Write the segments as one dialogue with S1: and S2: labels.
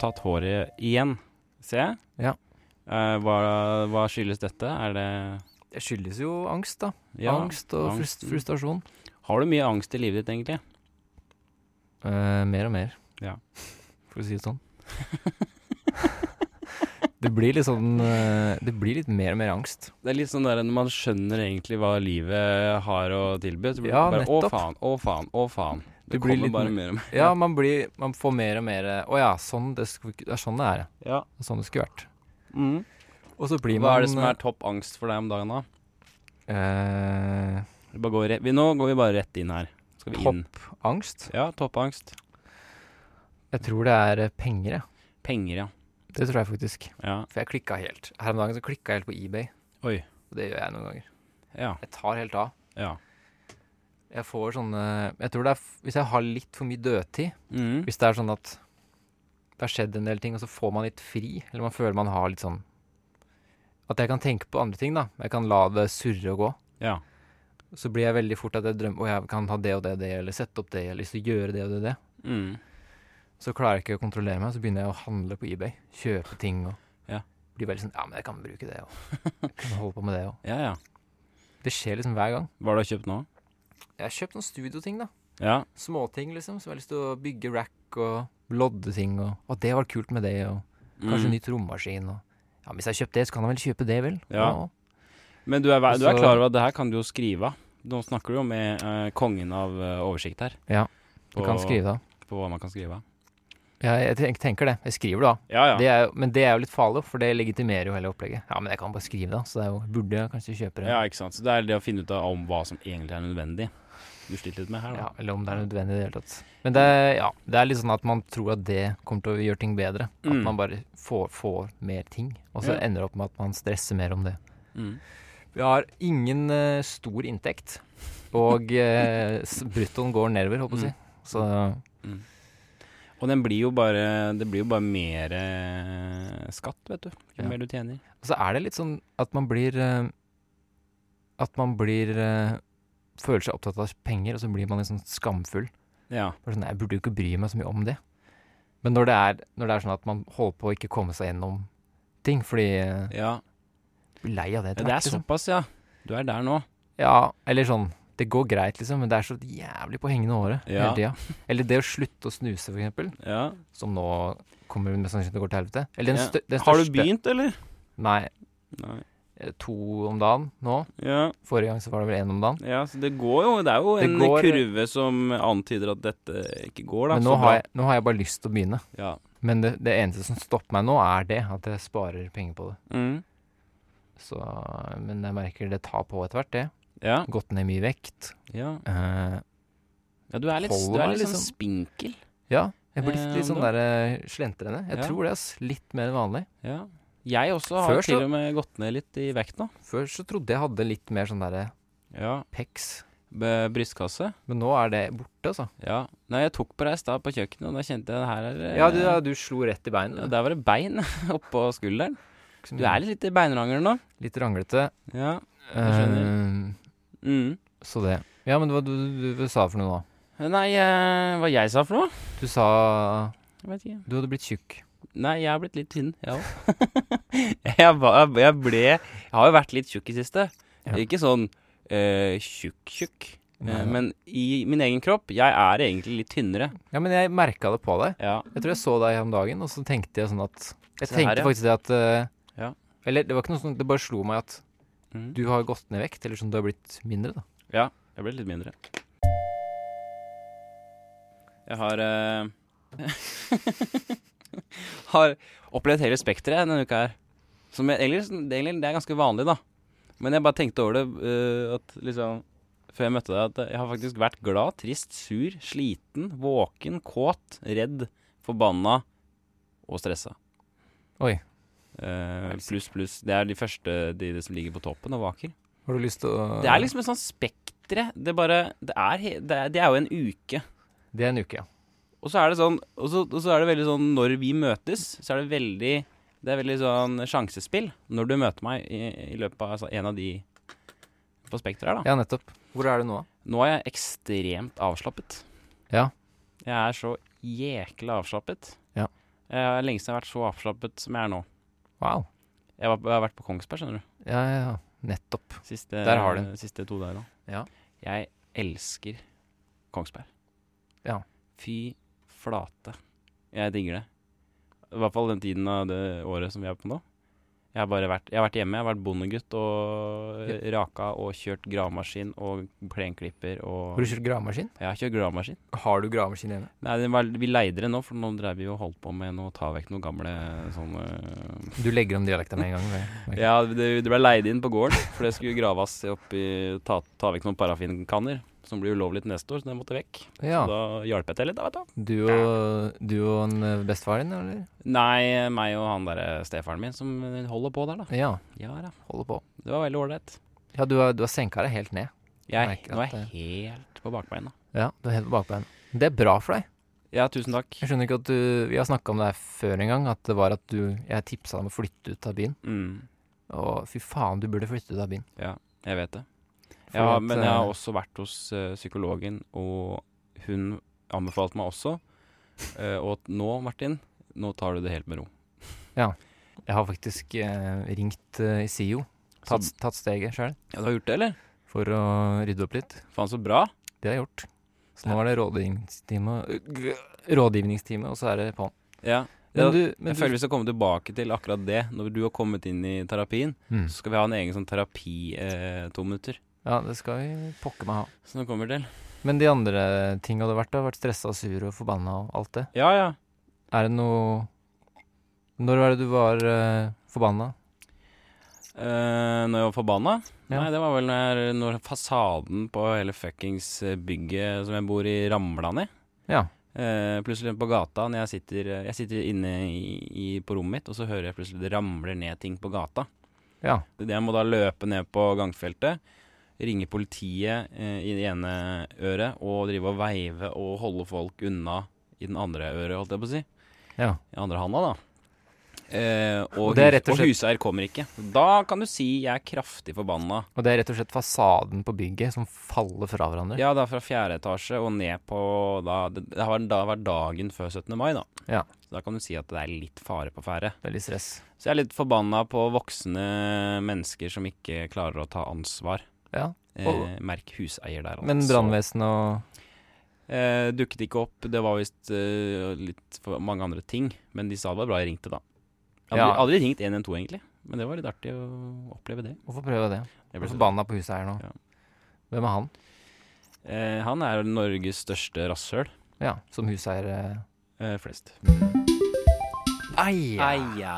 S1: tatt håret igjen, ser jeg.
S2: Ja.
S1: Eh, hva, hva skyldes dette? Er det
S2: Det skyldes jo angst, da.
S1: ja,
S2: angst og frus-
S1: angsten.
S2: frustrasjon.
S1: Har du mye angst i livet ditt, egentlig?
S2: Eh, mer og mer,
S1: Ja.
S2: for å si det sånn. det blir litt sånn eh, Det blir litt mer og mer angst.
S1: Det er litt sånn der når man skjønner egentlig hva livet har å tilby. Så blir
S2: Ja,
S1: det bare,
S2: nettopp.
S1: Å faen, å faen, å faen. Det,
S2: Det blir
S1: kommer
S2: litt
S1: bare
S2: mer-
S1: mer og mer.
S2: Ja, man blir Man får mer og mer eh, Å ja, sånn det, skulle ikke- det er sånn det er. ja.
S1: Ja.
S2: Det er sånn det skulle vært.
S1: Mm.
S2: Og så blir man
S1: Hva er det som er topp angst for deg om dagen, da?
S2: eh,
S1: Vi bare går rett, vi, nå går vi bare rett inn her. Skal vi
S2: Topp.
S1: inn?
S2: eh, Angst?
S1: Ja, toppangst.
S2: Jeg tror det er eh, penger, jeg.
S1: Penger, ja.
S2: Det tror jeg faktisk.
S1: ja.
S2: For jeg klikka helt. Her om dagen så klikka jeg helt på eBay.
S1: Oi.
S2: Og det gjør jeg noen ganger.
S1: Ja.
S2: Jeg tar helt av.
S1: ja.
S2: Jeg får sånne Jeg tror det er f- Hvis jeg har litt for mye dødtid,
S1: Mm.
S2: hvis det er sånn at det har skjedd en del ting, og så får man litt fri, eller man føler man har litt sånn At jeg kan tenke på andre ting, da. Jeg kan la det surre og gå.
S1: Ja.
S2: Så blir jeg veldig fort at jeg drømmer Å, jeg kan ha det og det og det, eller sette opp det, jeg har lyst til å gjøre det og det og det.
S1: Mm.
S2: Så klarer jeg ikke å kontrollere meg, så begynner jeg å handle på eBay. Kjøpe ting og
S1: Ja.
S2: Blir veldig sånn Ja, men jeg kan bruke det òg. Jeg kan holde på med det òg.
S1: ja, ja.
S2: Det skjer liksom hver gang.
S1: Hva har du kjøpt nå?
S2: Jeg har kjøpt noen studioting, da.
S1: Ja.
S2: Småting, liksom. Som jeg har lyst til å bygge rack og lodde ting og Og det var kult med det, og kanskje
S1: Mm.
S2: ny trommaskin og Ja, men hvis jeg har kjøpt det, så kan jeg vel kjøpe det, vel?
S1: Ja. Men du er, du er
S2: Så-
S1: klar over at det her kan du jo skrive av. Nå snakker du jo med eh, kongen av eh, oversikt her.
S2: Ja, Du
S1: På-
S2: kan skrive det av.
S1: På hva man kan skrive av.
S2: Ja, jeg tenk- tenker det. Jeg skriver det av.
S1: Ja, ja.
S2: Det er jo- Men det er jo litt farlig, for det legitimerer jo hele opplegget. Ja, men jeg kan bare skrive det av, så det er jo Burde jeg kanskje kjøpe det?
S1: ja, ikke sant. Så det er det å finne ut av om hva som egentlig er nødvendig. Du sliter litt med her, da.
S2: Ja, eller om det er nødvendig i det hele tatt. Men det, er- ja, det er litt sånn at man tror at det kommer til å gjøre ting bedre. At
S1: Mm.
S2: man bare får, får mer ting, og så
S1: Ja.
S2: ender det opp med at man stresser mer om det.
S1: Mm.
S2: Vi har ingen eh, stor inntekt, og eh, s- bruttoen går nedover, håper
S1: Mm.
S2: jeg å si. Så
S1: Og den blir jo bare Det blir jo bare mer eh, skatt, vet du. Jo
S2: Ja.
S1: mer du tjener.
S2: og så er det litt sånn at man blir eh, At man blir eh, Føler seg opptatt av penger, og så blir man litt sånn skamfull.
S1: Ja.
S2: Bare sånn, jeg burde jo ikke bry meg så mye om det. Men når det er, når det er sånn at man holder på å ikke komme seg gjennom ting, fordi eh,
S1: ja.
S2: jeg blir lei av
S1: Ja,
S2: det. etter
S1: Det
S2: hvert, liksom.
S1: er sånn. såpass, ja. Du er der nå.
S2: Ja, eller sånn, det går greit liksom, men det er så jævlig på hengende håret
S1: Ja.
S2: hele tida. Eller det å slutte å snuse, for eksempel,
S1: Ja.
S2: som nå kommer mest sannsynlig til å gå til helvete. Eller den,
S1: Ja.
S2: stø- den største
S1: Har du begynt, eller?
S2: Nei,
S1: Nei.
S2: eh, to om dagen nå.
S1: Ja.
S2: Forrige gang så var det vel én om dagen.
S1: Ja, så det går jo Det er jo
S2: Det
S1: en
S2: går-
S1: kurve som antyder at dette ikke går, da.
S2: Men
S1: så
S2: nå
S1: bra.
S2: har, jeg, nå har jeg bare lyst til å begynne.
S1: Ja.
S2: Men det, det eneste som stopper meg nå, er det at jeg sparer penger på det.
S1: Mm.
S2: Så, men jeg merker det tar på etter hvert, det.
S1: Ja.
S2: gått ned mye vekt.
S1: ja.
S2: Eh,
S1: Ja, du er litt,
S2: Holder
S1: du er
S2: meg,
S1: litt sånn
S2: liksom.
S1: spinkel.
S2: ja, jeg blir
S1: Eh,
S2: litt
S1: om
S2: sånn der eh, slentrende. Jeg
S1: Ja.
S2: tror det, ass. Litt mer enn vanlig.
S1: Ja. Jeg også har
S2: Før så-
S1: til og med gått ned litt i vekt nå.
S2: Før så trodde jeg hadde litt mer sånn derre
S1: Ja.
S2: peks,
S1: B- Brystkasse.
S2: men nå er det borte, altså.
S1: Ja. Nei, jeg tok på deg i stad på kjøkkenet, og da kjente jeg det her er eh,
S2: Ja, du, ja, du slo rett
S1: ja,
S2: i beinet.
S1: Der var det bein oppå skulderen. Du
S2: Mm.
S1: er litt i beinrangelen nå.
S2: litt ranglete.
S1: Ja.
S2: Eh,
S1: skjønner. Mm.
S2: så det. Ja, men hva du, du, du sa for noe nå?
S1: Nei, eh, hva jeg sa for noe?
S2: Du sa
S1: Jeg vet ikke.
S2: du hadde blitt tjukk.
S1: Nei, jeg har blitt litt tynn, jeg òg. jeg, var- jeg ble Jeg har jo vært litt tjukk i siste.
S2: Ja.
S1: Ikke sånn tjukk-tjukk,
S2: Nei, nei.
S1: eh, men i min egen kropp Jeg er egentlig litt tynnere.
S2: Ja, men jeg merka det på deg.
S1: Ja.
S2: Jeg tror jeg så deg om dagen, og så tenkte jeg sånn at Jeg
S1: Se her,
S2: tenkte
S1: ja.
S2: faktisk det at eh,
S1: Ja.
S2: Eller det var ikke noe sånn, det bare slo meg at
S1: Mm.
S2: du har gått ned i vekt, eller sånn du har blitt mindre, da.
S1: ja. Jeg ble litt mindre. Jeg har eh, Har opplevd hele spekteret denne uka her. Som jeg, egentlig, det er egentlig- det er ganske vanlig, da. Men jeg bare tenkte over det eh, at liksom Før jeg møtte deg, at jeg har faktisk vært glad, trist, sur, sliten, våken, kåt, redd, forbanna og stressa.
S2: Oi.
S1: Eh, pluss, pluss. Det er de første de, de som ligger på toppen og vaker.
S2: Har du lyst til å
S1: Det er liksom et sånt spektre. Det, bare, det, er, he- det, er, det er jo en uke.
S2: Det er en uke, ja.
S1: Og så er det sånn og så, og så er det veldig sånn Når vi møtes, så er det veldig Det er veldig sånn sjansespill når du møter meg i, i løpet av altså, en av de på spekteret her, da.
S2: Ja, nettopp. Hvor er du nå?
S1: Nå er jeg ekstremt avslappet.
S2: Ja.
S1: Jeg er så jækla avslappet.
S2: Ja.
S1: Jeg har lenge siden jeg har vært så avslappet som jeg er nå.
S2: Wow.
S1: Jeg, var, jeg har vært på Kongsberg, skjønner du.
S2: Ja, ja, ja. Nettopp.
S1: Siste,
S2: Der har du den.
S1: Siste to der òg.
S2: Ja.
S1: Jeg elsker Kongsberg.
S2: Ja.
S1: Fy flate. Jeg digger det. I hvert fall den tiden av det året som vi er på nå. Jeg har bare vært, jeg har vært hjemme. Jeg har vært bondegutt og raka og kjørt gravemaskin og plenklipper og
S2: Har du kjørt gravemaskin?
S1: Jeg har kjørt gravemaskin.
S2: Har du gravemaskin hjemme?
S1: Nei, den var, vi leide det nå, for nå drev vi og holdt på med å ta vekk noen gamle sånne
S2: Du legger om dialekten med en gang. det-
S1: Ja, det, det ble leid inn på gården, for det skulle graves opp i Ta, ta vekk noen parafinkanner, som blir ulovlig til neste år, så den måtte vekk.
S2: ja.
S1: Da hjalp jeg til litt, da, vet du.
S2: Du og, du og en eh, bestefar din, eller?
S1: Nei, meg og han derre stefaren min som holder på der, da.
S2: Ja.
S1: Ja da.
S2: Holder på.
S1: Det var veldig ålreit.
S2: Ja, du har, du har senka deg helt ned.
S1: Jeg
S2: Merker
S1: nå er
S2: at
S1: jeg helt på bakbeina.
S2: Ja, du er helt på bakbein. Det er bra for deg.
S1: Ja, tusen takk.
S2: Jeg skjønner ikke at du Vi har snakka om det her før en gang, at det var at du Jeg tipsa deg om å flytte ut av byen.
S1: Mm,
S2: Og fy faen, du burde flytte ut av byen.
S1: jeg vet det.
S2: For
S1: Ja,
S2: at,
S1: men jeg har
S2: eh,
S1: også vært hos eh, psykologen, og hun anbefalte meg også. eh, og at nå, Martin, nå tar du det helt med ro.
S2: jeg har faktisk eh, ringt eh, i SIO. Tatt, tatt steget sjøl
S1: Ja, Du har gjort det, eller?
S2: for å rydde opp litt.
S1: Faen, så bra.
S2: Det har jeg gjort. Så nå er det rådgivningstime, rådgivningstime og så er det på'n.
S1: Ja.
S2: Men
S1: Ja,
S2: du, men
S1: jeg
S2: du
S1: føler vi skal komme tilbake til akkurat det. Når du har kommet inn i terapien,
S2: Mm.
S1: så skal vi ha en egen sånn terapi eh, to minutter.
S2: Ja, det skal vi pokker meg ha.
S1: Så nå kommer vi til.
S2: Men de andre tinga du har vært, da? Vært stressa og sur og forbanna og alt det?
S1: Ja, ja.
S2: Er det noe Når var det du var eh, forbanna?
S1: Eh, når jeg var forbanna?
S2: Ja.
S1: Nei, det var vel når, når fasaden på hele fuckings eh, bygget som jeg bor i, ramla ned.
S2: Ja.
S1: Eh, plutselig på gata, når jeg sitter, jeg sitter inne i, i, på rommet mitt, og så hører jeg plutselig det ramler ned ting på gata.
S2: Ja.
S1: Jeg må da løpe ned på gangfeltet, ringe politiet eh, i det ene øret, og drive og veive og holde folk unna i den andre øret, holdt jeg på å si.
S2: ja.
S1: I andre handa, da. Eh, og,
S2: Og det
S1: hus-
S2: er rett og
S1: og
S2: slett-
S1: huseier kommer ikke. Da kan du si jeg er kraftig forbanna.
S2: Og det er rett og slett fasaden på bygget som faller fra hverandre?
S1: Ja, da fra fjerde etasje og ned på da, Det, det har da vært dagen før 17. mai, da.
S2: Ja.
S1: Så da kan du si at det er litt fare på ferde.
S2: Det er litt stress.
S1: Så jeg er litt forbanna på voksne mennesker som ikke klarer å ta ansvar.
S2: Ja.
S1: Eh, merk huseier der, altså.
S2: Men brannvesenet og
S1: Eh, dukket ikke opp. Det var visst eh, litt for mange andre ting. Men de sa det var bra jeg ringte, da. Jeg hadde
S2: Ja.
S1: aldri ringt 112, egentlig. Men det var litt artig å oppleve det.
S2: Hvorfor prøve det?
S1: Jeg
S2: Jeg
S1: ble
S2: ble
S1: så-
S2: forbanna på huset her nå.
S1: Ja.
S2: Hvem er han?
S1: Eh, han er Norges største rasshøl.
S2: Ja, som huseier eh.
S1: Eh, flest.
S2: Ai!
S1: Eia.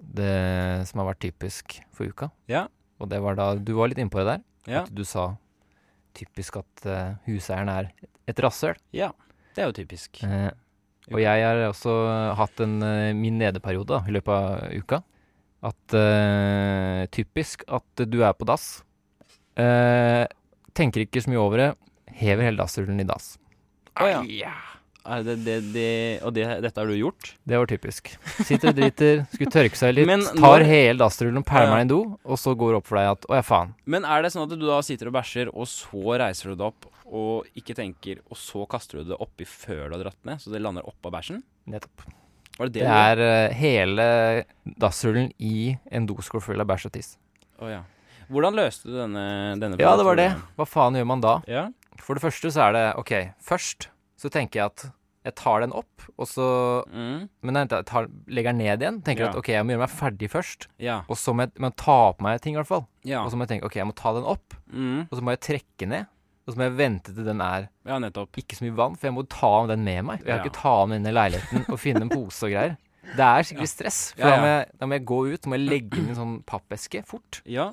S2: Det som har vært typisk for uka.
S1: Ja.
S2: Og det var da Du var litt innpå det der.
S1: Ja.
S2: At du sa typisk at eh, huseieren er et rasshøl.
S1: ja. Det er jo typisk.
S2: Eh, og jeg har også hatt en, eh, min nedeperiode da, i løpet av uka. At eh, typisk at du er på dass. Eh, tenker ikke så mye over det. Hever hele dasshullen i dass.
S1: Å, ja. Er det, det, det, og det, dette har du gjort?
S2: Det var typisk. Sitter og driter, skulle tørke seg litt,
S1: Men
S2: tar
S1: når-
S2: hele dassrullen, pælmer
S1: Ja.
S2: den i do, og så går det opp for deg at å ja, faen.
S1: Men er det sånn at du da sitter og bæsjer, og så reiser du deg opp og ikke tenker, og så kaster du det oppi før du har dratt ned, så det lander oppå bæsjen?
S2: Nettopp.
S1: Var det det? du
S2: Det
S1: gjorde?
S2: er eh, hele dassrullen i en doskål full av bæsj og tiss.
S1: Å, ja. Hvordan løste du denne, denne
S2: Ja, det var det. Hva faen gjør man da?
S1: Ja.
S2: For det første så er det OK, først så tenker jeg at jeg tar den opp, og så
S1: Mm.
S2: Men nei, jeg tar, legger den ned igjen. Tenker
S1: Ja.
S2: at OK, jeg må gjøre meg ferdig først.
S1: Ja.
S2: Og så må jeg, må jeg ta på meg ting, i hvert fall.
S1: Ja.
S2: Og så må jeg tenke OK, jeg må ta den opp,
S1: Mm.
S2: og så må jeg trekke ned. Og så må jeg vente til den er
S1: ja, nettopp.
S2: ikke så mye vann, for jeg må ta av den med meg. Og jeg
S1: Ja.
S2: kan ikke ta av den inn i leiligheten og finne en pose og greier. Det er skikkelig stress. For
S1: Ja, ja.
S2: Da, må jeg, da må jeg gå ut, så må jeg legge den i en sånn pappeske fort.
S1: Ja.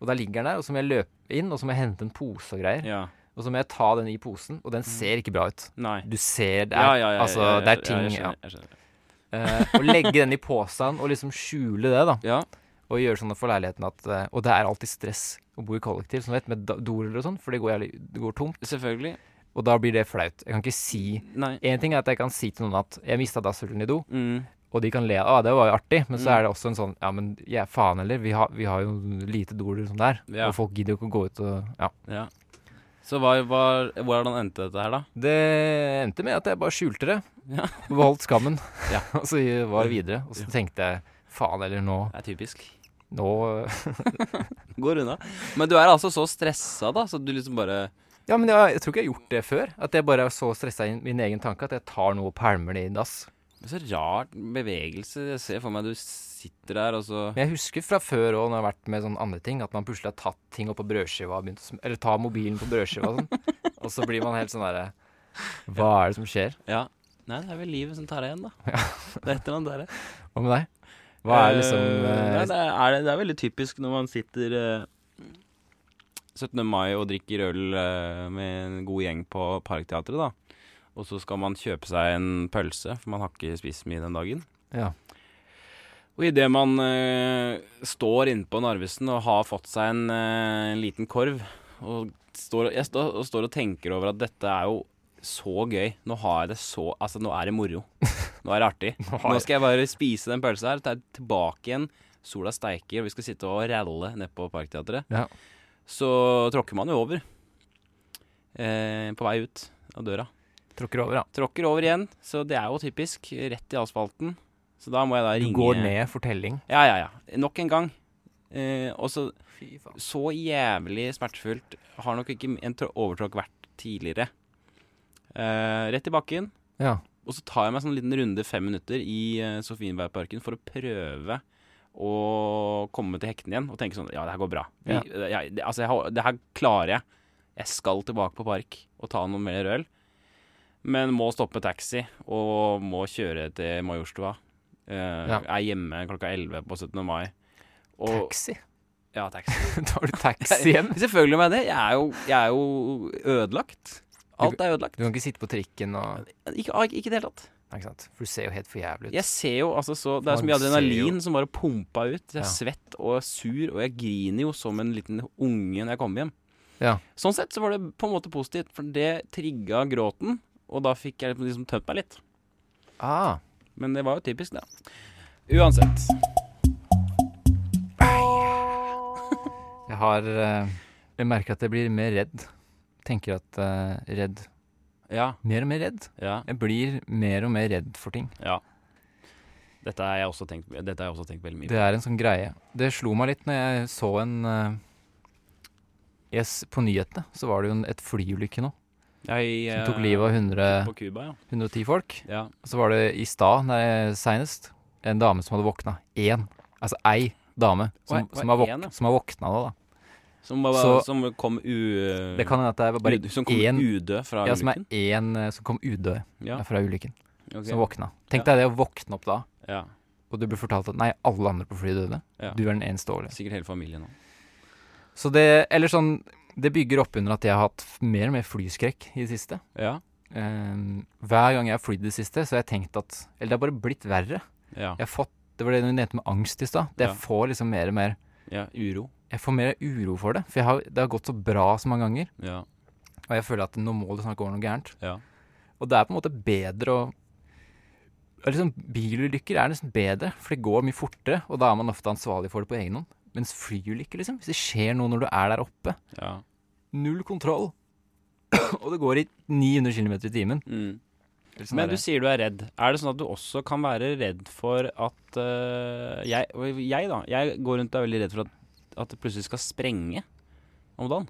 S2: Og der ligger den der, og så må jeg løpe inn, og så må jeg hente en pose og greier.
S1: ja. Mm.
S2: Og så må jeg ta den i posen, og den ser ikke bra ut.
S1: Nei.
S2: Du ser det er,
S1: Ja, ja, ja,
S2: altså,
S1: ja, ja,
S2: det er
S1: ja,
S2: ting
S1: jeg
S2: ja,
S1: skjønner, jeg skjønner.
S2: Eh, Å legge den i posen og liksom skjule det, da.
S1: Ja.
S2: Og gjøre sånn for leiligheten at eh, Og det er alltid stress å bo i kollektiv, som du vet, med da- doruller og sånn, for det går, jævlig, det går tomt.
S1: Selvfølgelig.
S2: Og da blir det flaut. Jeg kan ikke si
S1: Nei.
S2: En ting er at jeg kan si til noen at 'jeg mista dasshullen i do',
S1: Mm.
S2: og de kan le av ah, 'det var jo artig', men så
S1: Mm.
S2: er det også en sånn 'ja, men ja, faen heller, vi, har- vi har jo lite doruller som det er',
S1: Ja.
S2: og folk gidder jo ikke å gå ut og Ja.
S1: Ja. Så hva, hva, hvordan endte dette her, da?
S2: Det endte med at jeg bare skjulte det.
S1: Ja.
S2: Beholdt skammen.
S1: Ja.
S2: og så var det videre. Og så tenkte jeg faen eller nå,
S1: Det er typisk.
S2: nå
S1: Går unna. Men du er altså så stressa, da, så du liksom bare
S2: Ja, men jeg, jeg tror ikke jeg har gjort det før. At jeg bare er så stressa i min egen tanke at jeg tar noe og pælmer det i dass.
S1: Det er Så rar bevegelse. Jeg ser for meg du sitter der, og så
S2: Men jeg husker fra før òg, når jeg har vært med sånne andre ting, at man plutselig har tatt ting opp på brødskiva og begynt å sm Eller ta mobilen på brødskiva og sånn. og så blir man helt sånn derre Hva er det som skjer?
S1: Ja. Nei, det er vel livet som tar deg igjen, da. Det er et eller annet der.
S2: Hva med deg? Hva er liksom
S1: Eh,
S2: eh,
S1: nei, det, er, det er veldig typisk når man sitter eh, 17. mai og drikker øl eh, med en god gjeng på Parkteatret, da. Og så skal man kjøpe seg en pølse, for man har ikke spist mye den dagen.
S2: Ja.
S1: Og idet man eh, står inne på Narvesen og har fått seg en, eh, en liten korv og står, Jeg står og, står og tenker over at dette er jo så gøy. Nå har jeg det så Altså, nå er det moro. Nå er det artig.
S2: Nå har
S1: Nå
S2: jeg-
S1: skal jeg bare spise den pølsa her, ta tilbake igjen. Sola steiker, og vi skal sitte og ralle nede på Parkteatret.
S2: Ja.
S1: Så tråkker man jo over eh, på vei ut av døra.
S2: Tråkker over, ja.
S1: Tråkker over igjen, så det er jo typisk. Rett i asfalten. Så da må jeg da
S2: Du
S1: ringe
S2: går ned for telling.
S1: Ja, ja, ja. Nok en gang. Eh, og så
S2: Fy faen.
S1: så jævlig smertefullt har nok ikke en trå- overtråkk vært tidligere. Eh, rett i bakken.
S2: Ja.
S1: Og så tar jeg meg sånn liten runde fem minutter i eh, Sofienbergparken for å prøve å komme til hektene igjen og tenke sånn Ja, det her går bra. Vi,
S2: Ja.
S1: jeg, det, altså, jeg, har- det her klarer jeg. Jeg skal tilbake på park og ta noe mer øl. Men må stoppe taxi og må kjøre til Majorstua. Eh,
S2: Ja.
S1: Er hjemme klokka 11 på 17. mai. Og,
S2: Taxi?
S1: ja, taxi.
S2: Tar du taxi hjem?
S1: Selvfølgelig må jeg det. Jeg er jo, jeg er jo ødelagt. Alt er ødelagt.
S2: Du kan ikke sitte på trikken og
S1: Ikke, ah, ikke i det hele tatt.
S2: Nei, ikke sant? For du ser jo helt for jævlig ut.
S1: Jeg ser jo altså så Det er så
S2: Man
S1: mye
S2: ser
S1: adrenalin som bare pumpa ut. Jeg
S2: Ja.
S1: er svett og er sur, og jeg griner jo som en liten unge når jeg kommer hjem.
S2: Ja.
S1: Sånn sett så var det på en måte positivt, for det trigga gråten, og da fikk jeg liksom tømt meg litt.
S2: Ah,
S1: Men det var jo typisk, det. Uansett.
S2: jeg har eh, Jeg merker at jeg blir mer redd. Tenker at eh, redd
S1: Ja,
S2: Mer og mer redd.
S1: ja,
S2: Jeg blir mer og mer redd for ting.
S1: ja. Dette har jeg også tenkt, dette har jeg også tenkt veldig mye på.
S2: Det er en sånn greie. Det slo meg litt når jeg så en eh, yes, På nyhetene så var det jo en, et flyulykke nå.
S1: Jeg,
S2: Som tok
S1: eh,
S2: livet av 100,
S1: På Cuba, ja.
S2: 110 folk.
S1: ja.
S2: Og så var det i stad, nei, seinest, en dame som hadde våkna. Én. Altså ei dame som,
S1: Oi, oi,
S2: som, har,
S1: en,
S2: våk
S1: ja.
S2: som har våkna nå, da.
S1: Som, var,
S2: Så-
S1: som kom u...
S2: Det kan hende at det er bare
S1: ud- som kom
S2: én
S1: udød fra
S2: ja, som er
S1: ulykken?
S2: én eh, som kom udød
S1: Ja,
S2: fra ulykken,
S1: ok.
S2: som våkna. Tenk deg det å våkne opp da,
S1: ja.
S2: og du blir fortalt at nei, alle andre på flyet døde.
S1: Ja.
S2: Du er den eneste årlige.
S1: Sikkert hele familien nå.
S2: Så det Eller sånn Det bygger opp under at jeg har hatt f- mer og mer flyskrekk i det siste.
S1: Ja.
S2: Eh, hver gang jeg har flydd i det siste, så har jeg tenkt at Eller det har bare blitt verre.
S1: Ja.
S2: Jeg har fått Det var det du nevnte med angst i stad. Det
S1: Ja.
S2: Jeg får liksom mer og mer
S1: ja. Uro.
S2: jeg får mer uro for det. For jeg har, det har gått så bra så mange ganger.
S1: Ja.
S2: Og jeg føler at nå må det snart gå noe gærent.
S1: Ja.
S2: Og det er på en måte bedre å og liksom, Bilulykker er nesten bedre, for det går mye fortere. Og da er man ofte ansvarlig for det på egen hånd. Mens flyulykker, liksom Hvis det skjer noe når du er der oppe
S1: ja.
S2: Null kontroll. og det går i 900 km i timen.
S1: Mm.
S2: Eller sånn
S1: Men du
S2: der-
S1: sier du er redd. Er det sånn at du også kan være redd for at eh, jeg, og jeg, da. Jeg går rundt og er veldig redd for at, at det plutselig skal sprenge om dagen.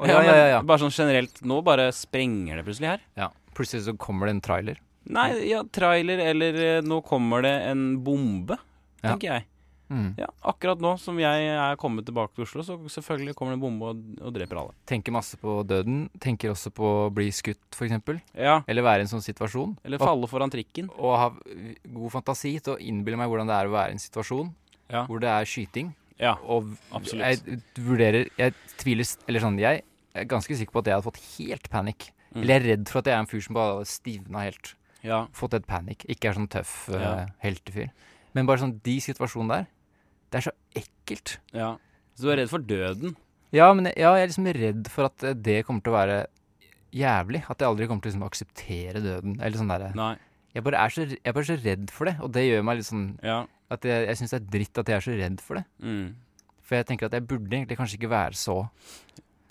S2: Å, ja, ja, ja, ja.
S1: Bare sånn generelt. Nå bare sprenger det plutselig her.
S2: ja. Plutselig så kommer det en trailer.
S1: Nei, ja, trailer eller eh, nå kommer det en bombe,
S2: Ja.
S1: tenker jeg.
S2: Mm.
S1: Ja, akkurat nå som jeg er kommet tilbake til Oslo, så selvfølgelig kommer det en bombe og, og dreper alle.
S2: Tenker masse på døden. Tenker også på å bli skutt, f.eks.
S1: Ja,
S2: Eller være i en sånn situasjon.
S1: eller
S2: Og-
S1: falle foran trikken.
S2: og ha v- god fantasi til å innbille meg hvordan det er å være i en situasjon
S1: Ja.
S2: hvor det er skyting.
S1: Ja,
S2: Og v-
S1: Absolutt.
S2: jeg vurderer Jeg tviler s- Eller sånn, jeg er ganske sikker på at jeg hadde fått helt panikk.
S1: Mm.
S2: Eller jeg er redd for at jeg er en fyr som bare hadde stivna helt.
S1: ja.
S2: Fått et panikk. Ikke er sånn tøff eh,
S1: Ja.
S2: heltefyr. Men bare sånn de situasjonene der, det er så ekkelt.
S1: ja. Så du er redd for døden?
S2: Ja, men jeg, ja, jeg er liksom redd for at eh, det kommer til å være jævlig. At jeg aldri kommer til liksom, å akseptere døden. Eller sånn derre
S1: Nei.
S2: jeg, bare er så r- jeg er bare så redd for det, og det gjør meg litt sånn
S1: Ja.
S2: at jeg, jeg syns det er dritt at jeg er så redd for det.
S1: Mm.
S2: For jeg tenker at jeg burde egentlig kanskje ikke være så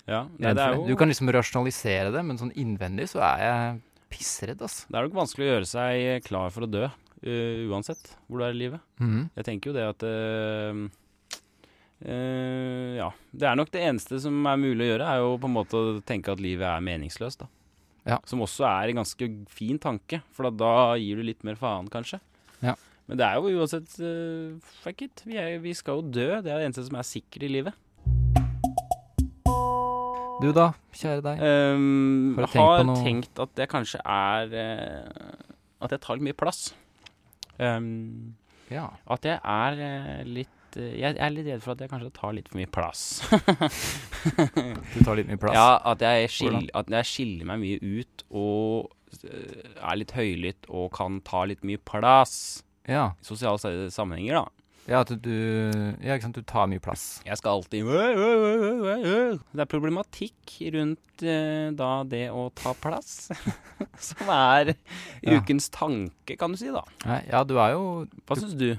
S1: Ja, nei, det er jo
S2: Du kan liksom rasjonalisere det, men sånn innvendig så er jeg pissredd, altså. ass.
S1: Det er nok vanskelig å gjøre seg klar for å dø, eh, uansett hvor du er i livet. Jeg tenker jo det at eh, eh, Ja. Det er nok det eneste som er mulig å gjøre, er jo på en måte å tenke at livet er meningsløst, da.
S2: Ja.
S1: Som også er en ganske fin tanke, for at da gir du litt mer faen, kanskje.
S2: Ja.
S1: Men det er jo uansett eh, Fuck it. Vi, er, vi skal jo dø. Det er det eneste som er sikkert i livet.
S2: Du da, kjære deg.
S1: Um,
S2: Har du tenkt
S1: har
S2: på noe-
S1: tenkt at jeg kanskje er eh, At jeg tar litt mye plass. Um,
S2: Ja.
S1: at jeg er eh, litt eh, Jeg er litt redd for at jeg kanskje tar litt for mye plass.
S2: Du tar litt mye plass.
S1: Ja, at jeg, skiller,
S2: Hvordan?
S1: at jeg skiller meg mye ut og eh, er litt høylytt og kan ta litt mye plass.
S2: Ja,
S1: I sosiale se- sammenhenger, da.
S2: ja at du Ja, ikke sant, du tar mye plass.
S1: Jeg skal alltid «Øy, øy, øy, øy, øy, øy». Det er problematikk rundt eh, da det å ta plass, som er
S2: Ja.
S1: ukens tanke, kan du si, da.
S2: Nei, ja, du er jo
S1: Hva syns du?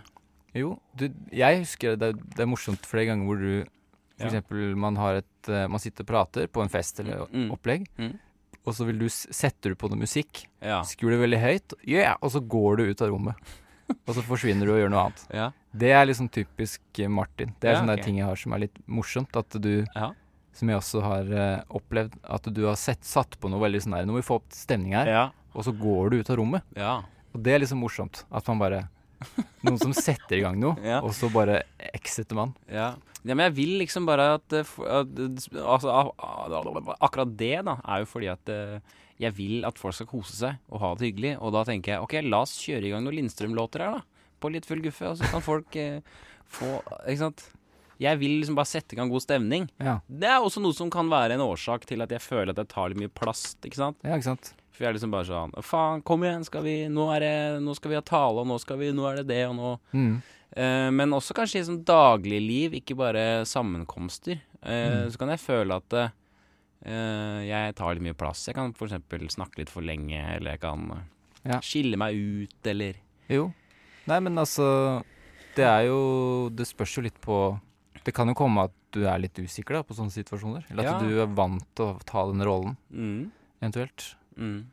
S2: Jo, du, jeg husker det, det er morsomt flere ganger hvor du For
S1: Ja.
S2: eksempel man har et eh, Man sitter og prater på en fest eller
S1: Mm.
S2: opplegg,
S1: Mm.
S2: og så vil du s- setter du på noe musikk,
S1: Ja.
S2: skrur det veldig høyt, yeah, og så går du ut av rommet. Og så forsvinner du og gjør noe annet.
S1: ja.
S2: Det er liksom typisk eh, Martin. Det er
S1: Ja,
S2: sånne
S1: ok.
S2: der ting jeg har som er litt morsomt. At du,
S1: Ja.
S2: som jeg også har eh, opplevd, at du har sett, satt på noe veldig sånn her Nå må vi få opp stemning her,
S1: Ja.
S2: og så går du ut av rommet.
S1: Ja.
S2: Og det er liksom morsomt. At man bare Noen som setter i gang noe,
S1: Ja.
S2: og så bare exiter man.
S1: Ja. ja, men jeg vil liksom bare at, eh, f- at eh, s- altså, a- a- Akkurat det da er jo fordi at eh, jeg vil at folk skal kose seg og ha det hyggelig. Og da tenker jeg ok, la oss kjøre i gang noen Lindstrøm-låter her, da. På litt full guffe. Og så kan folk eh, få Ikke sant. Jeg vil liksom bare sette i gang god stemning.
S2: Ja,
S1: Det er også noe som kan være en årsak til at jeg føler at jeg tar litt mye plast. ikke sant?
S2: ja ikke sant?
S1: For jeg er liksom bare sånn Faen, kom igjen, skal vi Nå, er det, nå skal vi ha tale, og nå, skal vi, nå er det det, og nå
S2: Mm.
S1: Eh, men også kanskje i sånn dagligliv, ikke bare sammenkomster.
S2: Mm.
S1: Eh, Så kan jeg føle at eh, jeg tar litt mye plass. Jeg kan f.eks. snakke litt for lenge, eller jeg kan eh,
S2: Ja.
S1: skille meg ut, eller
S2: Jo. Nei, men altså Det er jo Det spørs jo litt på Det kan jo komme at du er litt usikker da på sånne situasjoner. Eller
S1: Ja.
S2: at du er vant til å ta den rollen,
S1: mm,
S2: eventuelt.
S1: mm.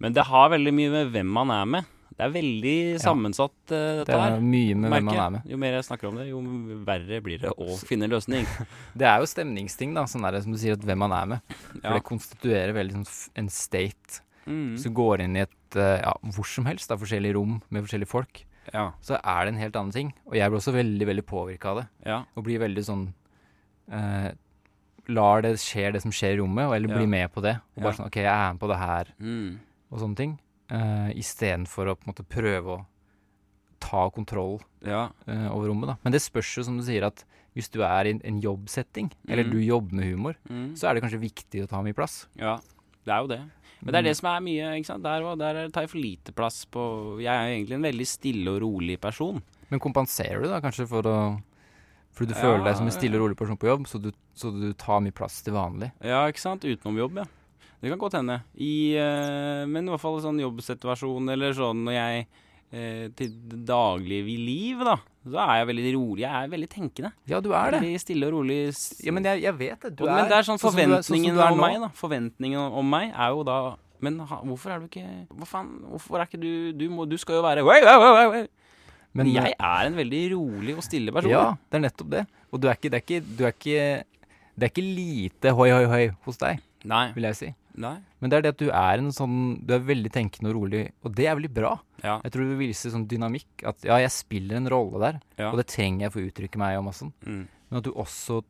S1: Men det har veldig mye med hvem man er med. Det er veldig sammensatt, eh,
S2: Det
S1: dette
S2: er
S1: her.
S2: mye med
S1: merker
S2: hvem man
S1: jeg.
S2: er med.
S1: Jo mer jeg snakker om det, jo verre blir det å finne en løsning.
S2: Det er jo stemningsting, da, sånn er det som du sier, at hvem man er med. For
S1: Ja.
S2: det konstituerer veldig sånn f- en state.
S1: Mm.
S2: Hvis du går inn i et eh, ja, hvor som helst, da, forskjellige rom med forskjellige folk,
S1: Ja.
S2: så er det en helt annen ting. Og jeg blir også veldig, veldig påvirka av det.
S1: ja.
S2: Og blir veldig sånn eh, Lar det skje det som skjer i rommet, og eller
S1: Ja.
S2: blir med på det. Og
S1: Ja.
S2: bare sånn OK, jeg er med på det her,
S1: Mm.
S2: og sånne ting. Uh, Istedenfor å på en måte prøve å ta kontroll
S1: Ja.
S2: eh, over rommet, da. Men det spørs jo, som du sier, at hvis du er i en- en jobbsetting, eller
S1: Mhm.
S2: du jobber med humor,
S1: Mm.
S2: så er det kanskje viktig å ta mye plass.
S1: Ja, det er jo det. Men det
S2: Mm.
S1: er det som er mye. ikke sant? Der, og der tar jeg for lite plass på Jeg er jo egentlig en veldig stille og rolig person.
S2: Men kompenserer du da kanskje for å fordi du
S1: Ja,
S2: føler deg som en stille
S1: ja.
S2: og rolig person på jobb, så du, så du tar mye plass til vanlig.
S1: Ja, ikke sant? Utenom jobb, ja. Det kan godt hende. I, eh, men i hvert fall i sånn jobbsituasjon eller sånn når jeg eh, til det daglige i liv, da, så er jeg veldig rolig. Jeg er veldig tenkende.
S2: Ja, du er det.
S1: Veldig stille og rolig. s-
S2: Ja, men jeg, jeg vet det. Du
S1: og, men det er sånn
S2: sånn som du er- sånn som
S1: forventningen
S2: du er
S1: om
S2: nå.
S1: meg, da. Forventningen om meg er jo da Men ha, hvorfor er du ikke Hva faen? Hvorfor er ikke du Du, må, du skal jo være «Oi, oi, oi, oi, oi!» Men eh,
S2: Men,
S1: jeg er en veldig rolig og stille person.
S2: Ja, det er nettopp det. Og du er ikke, det er ikke, du er ikke det er ikke lite hoi, hoi, hoi hos deg,
S1: Nei.
S2: vil jeg si.
S1: Nei.
S2: Men det er det at du er en sånn Du er veldig tenkende og rolig, og det er veldig bra.
S1: Ja.
S2: Jeg tror du viser sånn dynamikk. At ja, jeg spiller en rolle der,
S1: Ja.
S2: og det trenger jeg for å uttrykke meg om og sånn.
S1: Mm.
S2: Men at du også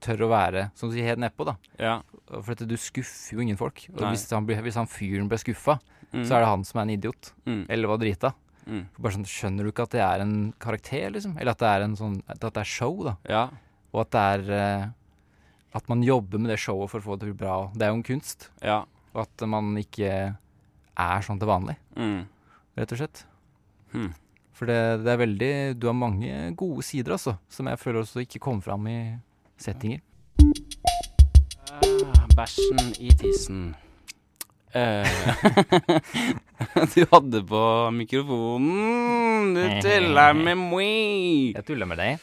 S2: tør å være, som du sier, helt nedpå, da.
S1: Ja.
S2: For at du skuffer jo ingen folk. Og
S1: Nei.
S2: hvis han, blir, hvis han fyren ble skuffa,
S1: Mm.
S2: så er det han som er en idiot.
S1: Mm.
S2: Eller var drita.
S1: Mm.
S2: Bare sånn, Skjønner du ikke at det er en karakter, liksom? Eller at det er en sånn At det er show, da.
S1: Ja.
S2: Og at det er eh, At man jobber med det showet for å få det til å bli bra. Det er jo en kunst.
S1: Ja.
S2: Og at man ikke er sånn til vanlig,
S1: Mm.
S2: rett og slett.
S1: Hmm.
S2: For det, det er veldig Du har mange gode sider, altså, som jeg føler også ikke kommer fram i settinger.
S1: Ah, Bæsjen i tissen. Eh, du hadde på mikrofonen Du tuller med meg.
S2: Jeg tuller med deg.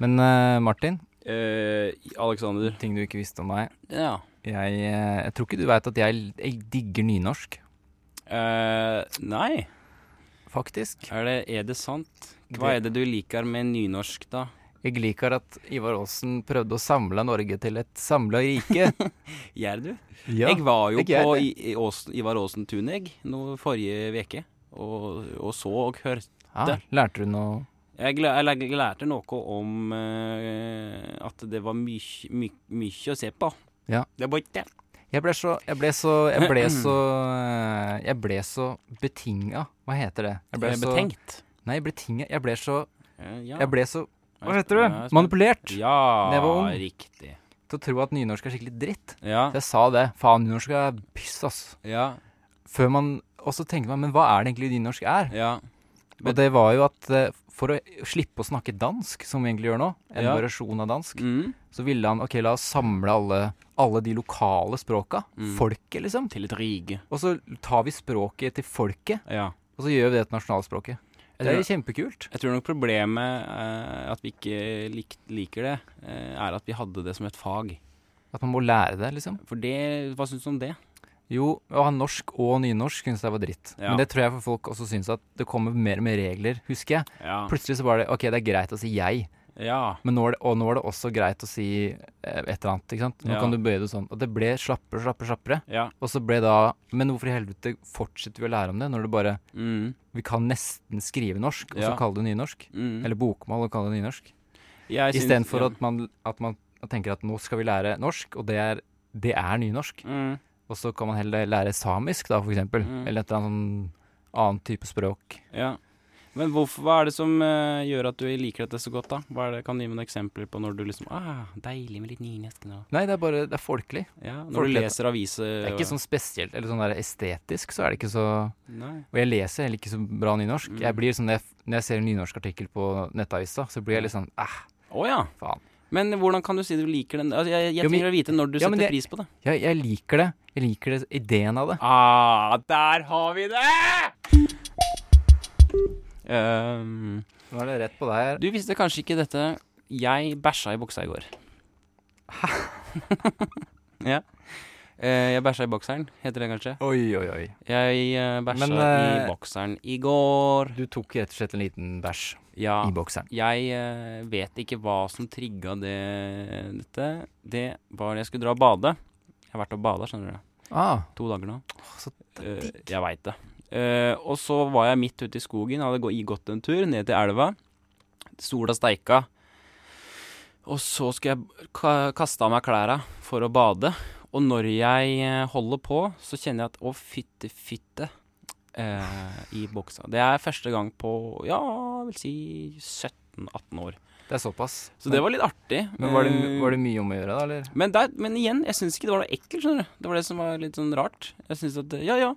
S2: Men eh, Martin,
S1: Eh, Alexander
S2: Ting du ikke visste om meg.
S1: Ja.
S2: Jeg, eh, jeg tror ikke du veit at jeg, jeg digger nynorsk,
S1: Eh, nei,
S2: faktisk.
S1: er det, er det sant? Hva er det du liker med nynorsk, da?
S2: Jeg liker at Ivar Aasen prøvde å samle Norge til et samla rike.
S1: Gjør du?
S2: ja.
S1: jeg var jo
S2: jeg gjør
S1: på
S2: det.
S1: I, I Åsen, Ivar Aasen-tunet jeg, nå forrige uke, og, og så og hørte
S2: ah, lærte du noe
S1: Jeg, læ- jeg, læ- lærte noe om eh, at det var mye my, mye å se på.
S2: Ja.
S1: Det var ikke det.
S2: Jeg ble så Jeg ble så Jeg ble så, eh, jeg ble så betinga. Hva heter det? Jeg ble
S1: Jeg
S2: så,
S1: betenkt.
S2: Nei, betinga Jeg ble så
S1: Eh, ja.
S2: Jeg ble så
S1: Jeg
S2: Hva
S1: er
S2: heter det?
S1: spen- jeg er spen-
S2: Manipulert
S1: Ja,
S2: Det var ung.
S1: riktig.
S2: til å tro at nynorsk er skikkelig dritt.
S1: Ja.
S2: Så jeg sa det. Faen, nynorsk er piss, ass.
S1: ja,
S2: Før man Og så tenkte man Men hva er det egentlig nynorsk er?
S1: ja.
S2: Og det var jo at eh, for å slippe å snakke dansk, som vi egentlig gjør nå, en
S1: Ja.
S2: variasjon av dansk,
S1: Mm.
S2: så ville han OK, la oss samle alle, alle de lokale språka.
S1: Mm.
S2: Folket, liksom.
S1: Til et rige.
S2: Og så tar vi språket til folket.
S1: Ja.
S2: Og så gjør vi det til nasjonalspråket. Det er
S1: tror-
S2: kjempekult.
S1: Jeg tror nok problemet eh, at vi ikke lik, liker det, eh, er at vi hadde det som et fag.
S2: At man må lære det, liksom.
S1: For det Hva syns du om det?
S2: Jo, å ha norsk og nynorsk syns jeg var dritt.
S1: Ja.
S2: Men det tror jeg for folk også syns at det kommer mer og mer regler, husker jeg.
S1: Ja.
S2: Plutselig så var det OK, det er greit å si jeg,
S1: ja.
S2: men nå er det, og nå er det også greit å si eh, et eller annet, ikke sant. Nå
S1: Ja.
S2: kan du bøye det sånn. Og det ble slappere, slappere, slappere.
S1: Ja.
S2: Og så ble da Men hvorfor i helvete fortsetter vi å lære om det når det bare
S1: Mm.
S2: Vi kan nesten skrive norsk, og så
S1: Ja.
S2: kalle det nynorsk.
S1: Mm.
S2: Eller bokmål og kalle det nynorsk.
S1: Jeg syns-
S2: Istedenfor
S1: ja.
S2: at, man- at man tenker at nå skal vi lære norsk, og det er, det er nynorsk.
S1: mm.
S2: Og så kan man heller lære samisk, da, for eksempel.
S1: Mm.
S2: Eller et eller annet sånn annet type språk.
S1: Ja. Men hvorfor, hva er det som eh, gjør at du liker dette så godt, da? Hva er det, kan du gi meg noen eksempler på når du liksom ah, Deilig med litt nynorsk nå.
S2: Nei, det er bare det er folkelig.
S1: Ja, når
S2: Folk
S1: du
S2: vet-
S1: leser aviser
S2: Det er ikke sånn spesielt, eller sånn der estetisk, så er det ikke så
S1: Nei.
S2: Og jeg leser heller ikke så bra nynorsk.
S1: Mm.
S2: Jeg blir sånn, når jeg, når jeg ser en nynorskartikkel på nettavisa, så
S1: Mm.
S2: blir jeg litt sånn æh,
S1: Å ja.
S2: faen.
S1: Men hvordan kan du si du liker den? Altså, jeg jeg
S2: Jo, men-
S1: trenger å vite når du
S2: Ja, men
S1: setter
S2: det-
S1: pris på det.
S2: Jeg, jeg liker det. Jeg liker det, ideen av det.
S1: Ah, der har vi det! Ehm,
S2: Nå er det rett på deg her.
S1: du visste kanskje ikke dette. Jeg bæsja i buksa i går. Hæ? ja. Eh, jeg bæsja i bokseren, heter det kanskje.
S2: Oi, oi, oi.
S1: Jeg eh, bæsja
S2: Men, eh,
S1: i bokseren i går.
S2: Du tok rett og slett en liten bæsj
S1: Ja.
S2: i bokseren.
S1: Jeg eh, vet ikke hva som trigga det, dette. Det var da jeg skulle dra og bade. Jeg har vært og bada, skjønner du.
S2: Ah,
S1: To dager nå.
S2: så
S1: Eh, jeg veit det. Eh, og så var jeg midt ute i skogen, hadde gå- gått en tur ned til elva. Sola steika. Og så skulle jeg ka kaste av meg klæra for å bade. Og når jeg eh, holder på, så kjenner jeg at å, fytte, fytte. eh, I boksa. Det er første gang på ja, jeg vil si 17-18 år.
S2: Det er såpass.
S1: Så det var litt artig.
S2: Men var det,
S1: Eh,
S2: var det mye om å gjøre, da, eller?
S1: men, der, men igjen, jeg syns ikke det var noe ekkelt, skjønner du. Det var det som var litt sånn rart. Jeg syns at Ja, ja.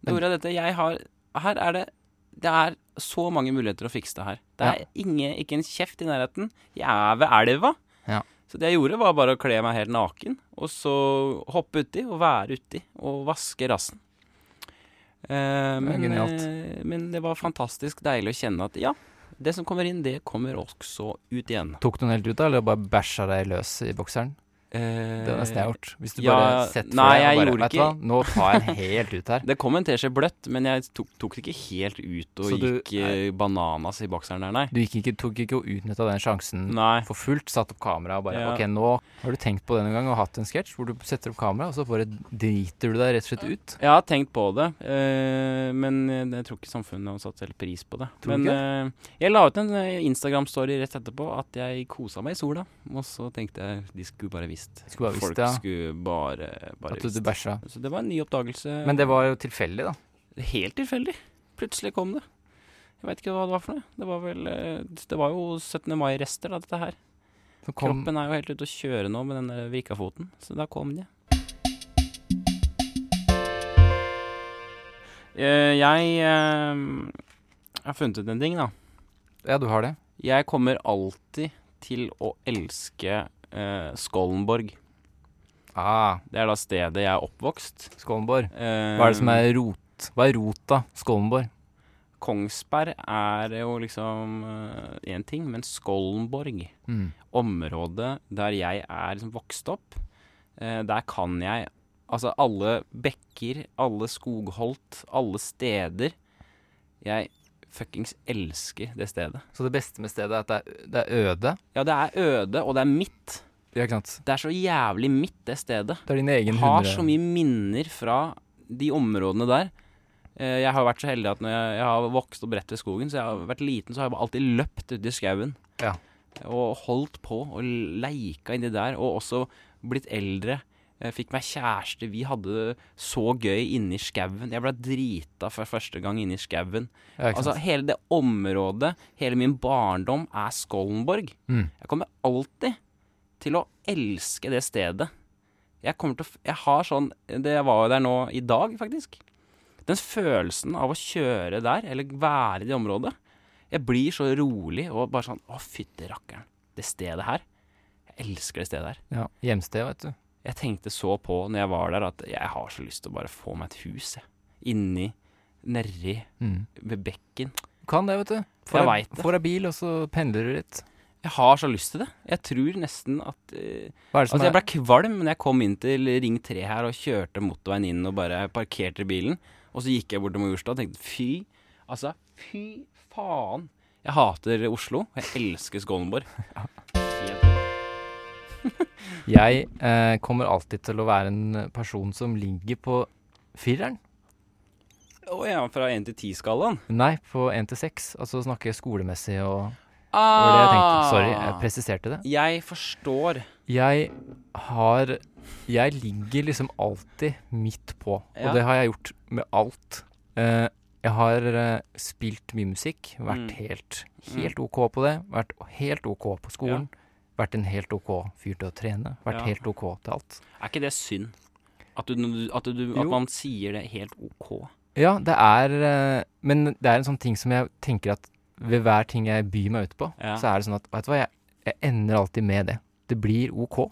S1: Da
S2: Men-
S1: gjorde jeg dette. Jeg har Her er det Det er så mange muligheter å fikse det her. Det er ingen, ikke en kjeft i nærheten. Jeg er ved elva.
S2: Ja.
S1: Så det jeg gjorde, var bare å kle meg helt naken, og så hoppe uti og være uti og vaske rassen. Eh, men,
S2: genialt.
S1: eh, men det var fantastisk deilig å kjenne at ja, det som kommer inn, det kommer også ut igjen.
S2: Tok du den helt ut, da, eller bare bæsja deg løs i bokseren?
S1: Eh,
S2: Det er nesten jeg har gjort. Hvis du
S1: ja,
S2: bare setter
S1: nei,
S2: deg og
S1: jeg
S2: bare,
S1: gjorde
S2: vet du
S1: ikke-
S2: hva, Nå tar jeg den helt ut her.
S1: Det kom en teskje bløtt, men jeg tok, tok det ikke helt ut og
S2: Så du-
S1: gikk eh, bananas i bokseren der, nei.
S2: Du gikk ikke, tok ikke og utnytta den sjansen
S1: Nei.
S2: for fullt, satt opp kamera og bare
S1: Ja.
S2: Ok, nå har du tenkt på det noen gang og hatt en sketsj hvor du setter opp kamera, og så bare driter du deg rett og slett ut.
S1: Jeg har tenkt på det, eh, men jeg tror ikke samfunnet har satt helt pris på det.
S2: Tror du
S1: men eh, jeg la ut en eh, Instagram-story rett etterpå at jeg kosa meg i sola. Og så tenkte jeg de skulle bare visst.
S2: Skulle bare
S1: Folk
S2: visst det, ja.
S1: skulle bare, bare
S2: At du,
S1: visst.
S2: du bæsja.
S1: Så det var en ny oppdagelse.
S2: Men det var jo tilfeldig, da.
S1: Helt tilfeldig. Plutselig kom det. Jeg veit ikke hva det var for noe. Det var vel eh, Det var jo 17. mai-rester, da, dette her.
S2: Så kom
S1: Kroppen er jo helt ute å kjøre nå med den der vrikka foten, så da kom de. Eh, Jeg eh, har funnet ut en ting, da.
S2: Ja, du har det.
S1: Jeg kommer alltid til å elske eh, Skollenborg.
S2: Ah,
S1: Det er da stedet jeg er oppvokst.
S2: Skålenborg.
S1: Eh,
S2: Hva er det som er rot? Hva er rota? Skålenborg.
S1: Kongsberg er jo liksom én ting, men Skollenborg,
S2: Mm.
S1: området der jeg er liksom vokst opp, eh, der kan jeg Altså alle bekker, alle skogholt, alle steder. Jeg fuckings elsker det stedet.
S2: Så det beste med stedet er at det er, det er øde.
S1: Ja, det er øde, og det er mitt.
S2: Ja, ikke sant.
S1: Det er så jævlig mitt, det stedet.
S2: Det er din egen
S1: har
S2: Mm, hundre-
S1: så mye minner fra de områdene der. Eh, Jeg har vært så heldig at når jeg, jeg har vokst opp rett ved skogen, så jeg har vært liten, så har jeg bare alltid løpt ute i skauen.
S2: Ja.
S1: Og holdt på og leika inni der. Og også blitt eldre. Jeg fikk meg kjæreste. Vi hadde det så gøy inni skauen. Jeg ble drita for første gang inni skauen.
S2: Ja, ikke
S1: Altså,
S2: sant?
S1: hele det området, hele min barndom, er Skollenborg.
S2: Mm.
S1: Jeg kommer alltid til å elske det stedet. Jeg kommer til å f- Jeg har sånn Det jeg var jo der nå i dag, faktisk. Den følelsen av å kjøre der, eller være i det området. Jeg blir så rolig og bare sånn Å, fytti rakkeren. Det stedet her. Jeg elsker det stedet her.
S2: ja. Hjemsted, vet du.
S1: Jeg tenkte så på når jeg var der, at jeg har så lyst til å bare få meg et hus, jeg. Inni, nedi,
S2: Mm.
S1: ved bekken.
S2: Du Kan det, vet du. Får
S1: Jeg
S2: deg-
S1: vet det.
S2: Får deg bil, og så pendler du litt.
S1: Jeg har så lyst til det. Jeg tror nesten at eh,
S2: Hva er det som
S1: Altså, jeg
S2: er
S1: ble kvalm når jeg kom inn til Ring 3 her og kjørte motorveien inn og bare parkerte bilen. Og så gikk jeg bort til Majorstua og tenkte fy. Altså, fy faen. Jeg hater Oslo. og Jeg elsker Skåneborg. Helt-
S2: Jeg eh, kommer alltid til å være en person som ligger på fireren.
S1: Å ja, fra 1 til 10-skalaen.
S2: Nei, på 1 til 6. Altså snakke skolemessig og Det var det jeg tenkte.
S1: Ah,
S2: Sorry, jeg presiserte det.
S1: jeg forstår.
S2: Jeg har Jeg ligger liksom alltid midt på,
S1: Ja.
S2: og det har jeg gjort med alt. Eh, jeg har eh, spilt mye musikk, vært
S1: Mm.
S2: helt, helt OK på det. Vært helt OK på skolen. Vært en helt OK fyr til å trene. Vært
S1: Ja.
S2: helt OK til alt.
S1: Er ikke det synd? At, du, at, du, at
S2: Jo.
S1: man sier det helt OK.
S2: Ja, det er eh, Men det er en sånn ting som jeg tenker at ved hver ting jeg byr meg ut på,
S1: Ja.
S2: så er det sånn at Vet du hva, jeg, jeg ender alltid med det. Det blir OK.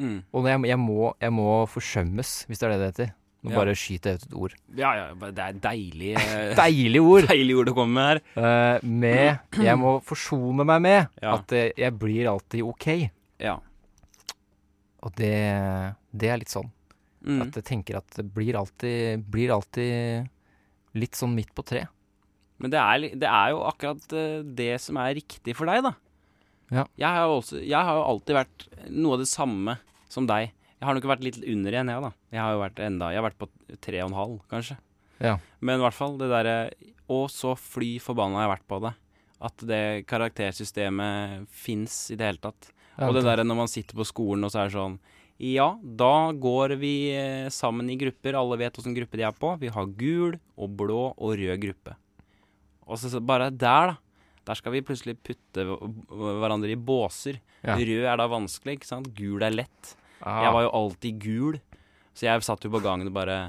S1: Mm.
S2: Og jeg, jeg, må, jeg må forsømmes, hvis det er det det heter. Nå
S1: Ja.
S2: bare skyter jeg ut et ord.
S1: Ja, ja, det er deilig, eh,
S2: Deilig ord!
S1: deilig ord å komme med her.
S2: Eh, med Jeg må forsone meg med
S1: Ja.
S2: at eh, jeg blir alltid OK.
S1: Ja.
S2: Og det, det er litt sånn.
S1: Mm.
S2: At jeg tenker at det blir alltid, blir alltid litt sånn midt på treet.
S1: Men det er, li- det er jo akkurat eh, det som er riktig for deg, da.
S2: Ja.
S1: Jeg, har jo også, jeg har jo alltid vært noe av det samme som deg. Jeg har nok vært litt under igjen, jeg, da. Jeg har jo vært enda Jeg har vært på tre og en halv, kanskje.
S2: Ja.
S1: Men i hvert fall det derre Og så fly forbanna har jeg vært på det. At det karaktersystemet fins i det hele tatt. Og det derre når man sitter på skolen og så er det sånn Ja, da går vi eh, sammen i grupper. Alle vet åssen gruppe de er på. Vi har gul og blå og rød gruppe. Og så, så bare der, da. Der skal vi plutselig putte hv- hverandre i båser.
S2: Ja.
S1: Rød er da vanskelig, ikke sant? Gul er lett.
S2: ah,
S1: Jeg var jo alltid gul, så jeg satt jo på gangen og bare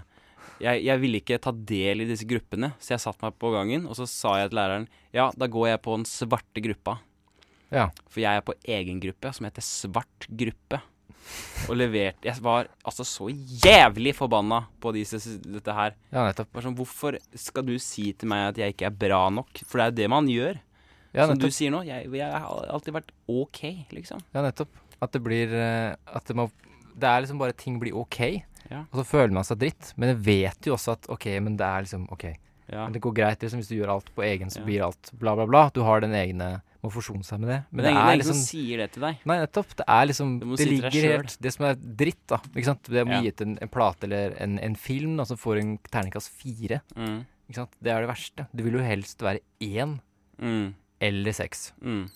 S1: jeg, jeg ville ikke ta del i disse gruppene, så jeg satt meg på gangen, og så sa jeg til læreren Ja, da går jeg på den svarte gruppa.
S2: ja.
S1: For jeg er på egen gruppe som heter Svart gruppe. Og leverte Jeg var altså så jævlig forbanna på disse, dette her.
S2: ja, nettopp.
S1: Bare sånn, Hvorfor skal du si til meg at jeg ikke er bra nok? For det er jo det man gjør.
S2: Ja,
S1: Som
S2: nettopp.
S1: du sier nå. Jeg, jeg har alltid vært OK, liksom.
S2: Ja, nettopp. At det blir eh, At det, må, det er liksom bare ting blir ok,
S1: Ja.
S2: og så føler man seg dritt. Men jeg vet jo også at ok, men det er liksom ok.
S1: Ja.
S2: Men det går greit liksom, hvis du gjør alt på egen, så
S1: Ja.
S2: blir alt bla, bla, bla. Du har den egne Må forsone seg med det. Men det,
S1: ingen,
S2: er
S1: ingen
S2: liksom
S1: som sier det til deg.
S2: Nei, nettopp. Det er liksom
S1: Du må
S2: Det
S1: si til deg
S2: ligger
S1: selv.
S2: helt Det som er dritt, da. Ikke sant. Det er mye
S1: Ja.
S2: gitt en, en plate eller en, en film da, som får en terningkast fire.
S1: Mm.
S2: Ikke sant. Det er det verste. Du vil jo helst være én
S1: Mm.
S2: eller seks.
S1: Mm.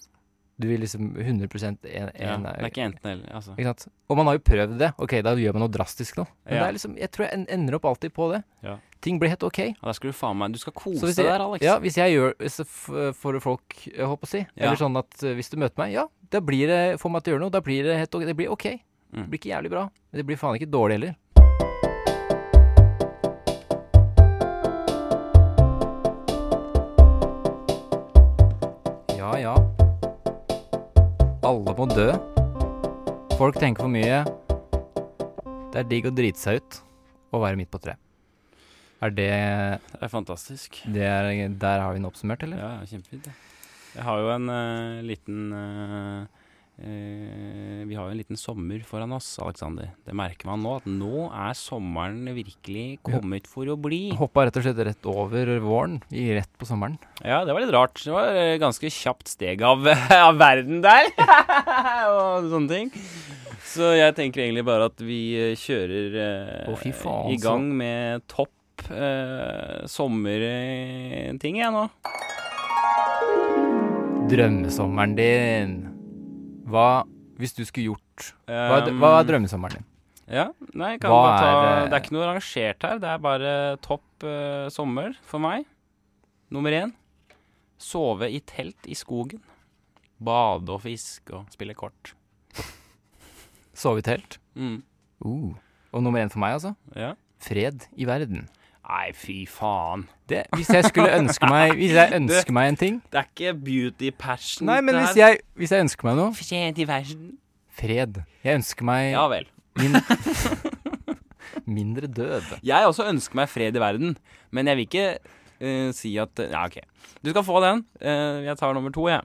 S2: Du vil liksom 100 én.
S1: Ja.
S2: én
S1: Det er ikke enten eller. Altså.
S2: Ikke sant? Og man har jo prøvd det. Ok, da gjør man noe drastisk nå. Men
S1: Ja.
S2: det er liksom, jeg tror jeg en- ender opp alltid på det.
S1: Ja.
S2: Ting blir helt ok.
S1: Ja, der skal du faen meg Du skal kose
S2: Så hvis
S1: deg
S2: jeg,
S1: der, Alex.
S2: ja, hvis jeg gjør hvis jeg f- for folk, jeg håper å si,
S1: Ja.
S2: eller sånn at eh, hvis du møter meg, ja, da blir det, får meg til å gjøre noe, da blir det helt ok. Det blir ok. Det
S1: Mm.
S2: blir ikke jævlig bra, men det blir faen ikke dårlig heller. Ja, ja. Alle må dø. Folk tenker for mye. Det er digg å drite seg ut og være midt på treet. Er det,
S1: Det er fantastisk.
S2: det er, Der har vi den oppsummert, eller?
S1: Ja, kjempefint. det. Jeg har jo en eh, liten eh, eh, Vi har jo en liten sommer foran oss, Aleksander. Det merker man nå. At nå er sommeren virkelig kommet for å bli.
S2: Hoppa rett og slett rett over våren, i rett på sommeren.
S1: Ja, det var litt rart. Det var eh, ganske kjapt steg av, av verden der. og sånne ting. Så jeg tenker egentlig bare at vi eh, kjører eh,
S2: Å, fy faen,
S1: i gang med topp eh, sommerting, jeg nå.
S2: Drømmesommeren din. Hva hvis du skulle gjort Hva er, hva er drømmesommeren din?
S1: Um, Ja, nei, kan
S2: Hva
S1: bare ta,
S2: er,
S1: det?
S2: eh,
S1: er ikke noe rangert her. Det er bare topp eh, sommer for meg. Nummer én sove i telt i skogen. Bade og fiske og spille kort.
S2: Sove i telt.
S1: Mm.
S2: Uh. Og nummer én for meg, altså.
S1: Ja.
S2: Fred i verden.
S1: Nei, fy faen.
S2: Det, hvis jeg skulle ønske meg Hvis jeg ønsker meg en ting
S1: Det er ikke beauty passion.
S2: Nei, men hvis jeg, hvis jeg ønsker meg noe
S1: Fred i verden.
S2: Fred. Jeg ønsker meg
S1: Ja vel.
S2: min, mindre død.
S1: Jeg også ønsker meg fred i verden, men jeg vil ikke eh, si at Ja, OK. Du skal få den. Eh, jeg tar nummer to, jeg.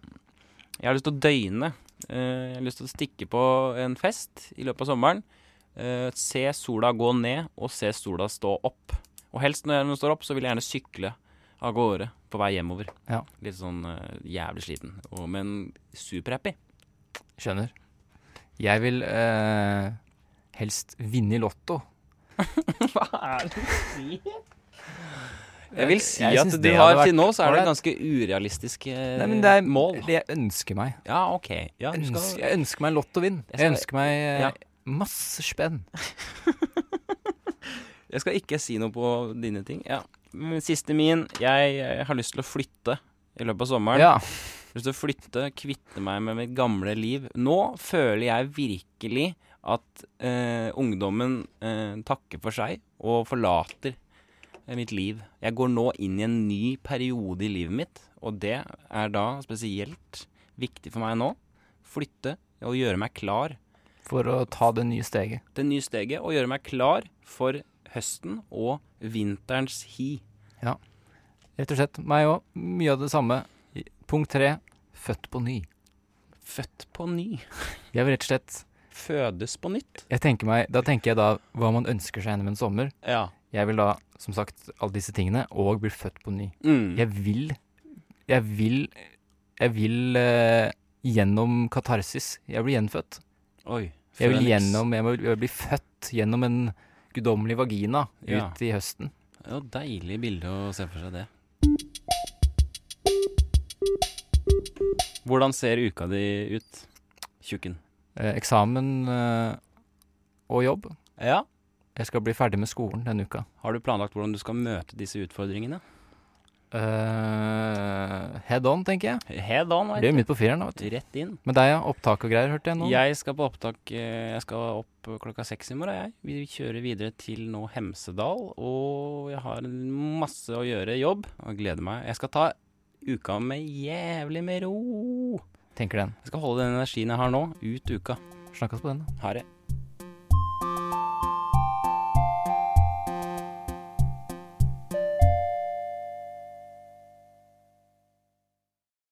S1: Jeg har lyst til å døgne. Eh, jeg har lyst til å stikke på en fest i løpet av sommeren. eh, se sola gå ned, og se sola stå opp. Og helst når den står opp, så vil jeg gjerne sykle av gårde på vei hjemover.
S2: Ja.
S1: Litt sånn eh, jævlig sliten, og, men superhappy.
S2: Skjønner. Jeg vil eh, helst vinne i Lotto.
S1: Hva er det du sier? Jeg vil si
S2: Jeg
S1: at
S2: synes
S1: du
S2: det
S1: har
S2: hadde vært
S1: til nå så er det
S2: ålreit.
S1: ganske urealistiske eh,
S2: Nei, men det er
S1: mål.
S2: Det jeg ønsker meg.
S1: Ja, OK. Ja, du
S2: Ønsker,
S1: skal,
S2: jeg ønsker meg en lottovinn.
S1: Jeg
S2: Jeg,
S1: skal-
S2: ønsker meg eh,
S1: Ja.
S2: masse spenn.
S1: jeg skal ikke si noe på dine ting. Ja. Men Siste min. Jeg, eh, har lyst til å flytte i løpet av sommeren.
S2: Ja.
S1: Jeg har lyst til å flytte, kvitte meg med mitt gamle liv. Nå føler jeg virkelig at eh, ungdommen eh, takker for seg og forlater eh, mitt liv. Jeg går nå inn i en ny periode i livet mitt, og det er da spesielt viktig for meg nå. Flytte og gjøre meg klar
S2: For å ta det nye steget.
S1: det nye steget og gjøre meg klar for høsten og vinterens hi.
S2: Rett og slett. Meg òg. Mye av det samme. Punkt tre. Født på ny.
S1: Født på ny.
S2: Jeg vil rett og slett
S1: Fødes på nytt.
S2: jeg tenker meg, Da tenker jeg da hva man ønsker seg gjennom en sommer.
S1: Ja.
S2: Jeg vil da, som sagt, alle disse tingene, og bli født på ny.
S1: Mm.
S2: Jeg vil Jeg vil Jeg vil eh, gjennom katarsis. Jeg blir gjenfødt.
S1: Oi.
S2: Jeg vil
S1: Phoenix.
S2: gjennom Jeg, må, jeg blir født gjennom en guddommelig vagina
S1: Ja.
S2: ut i høsten.
S1: Det var deilig bilde å se for seg det. Hvordan ser uka di ut, tjukken?
S2: Eh, eksamen eh, og jobb.
S1: Ja.
S2: Jeg skal bli ferdig med skolen denne uka.
S1: Har du planlagt hvordan du skal møte disse utfordringene?
S2: Eh, head on, tenker jeg.
S1: Head on,
S2: Det
S1: vet
S2: blir midt på fireren. da, vet du.
S1: du. Rett inn.
S2: Men det er ja, opptak og greier, hørte jeg nå.
S1: Jeg skal på opptak eh, Jeg skal opp klokka seks i morgen, jeg. Vi kjører videre til nå Hemsedal, og jeg har masse å gjøre i jobb. Og jeg gleder meg. Jeg skal ta uka med jævlig med ro.
S2: Tenker den.
S1: Jeg skal holde den energien jeg har nå, ut uka.
S2: Snakkes på den, da.
S1: Ha det.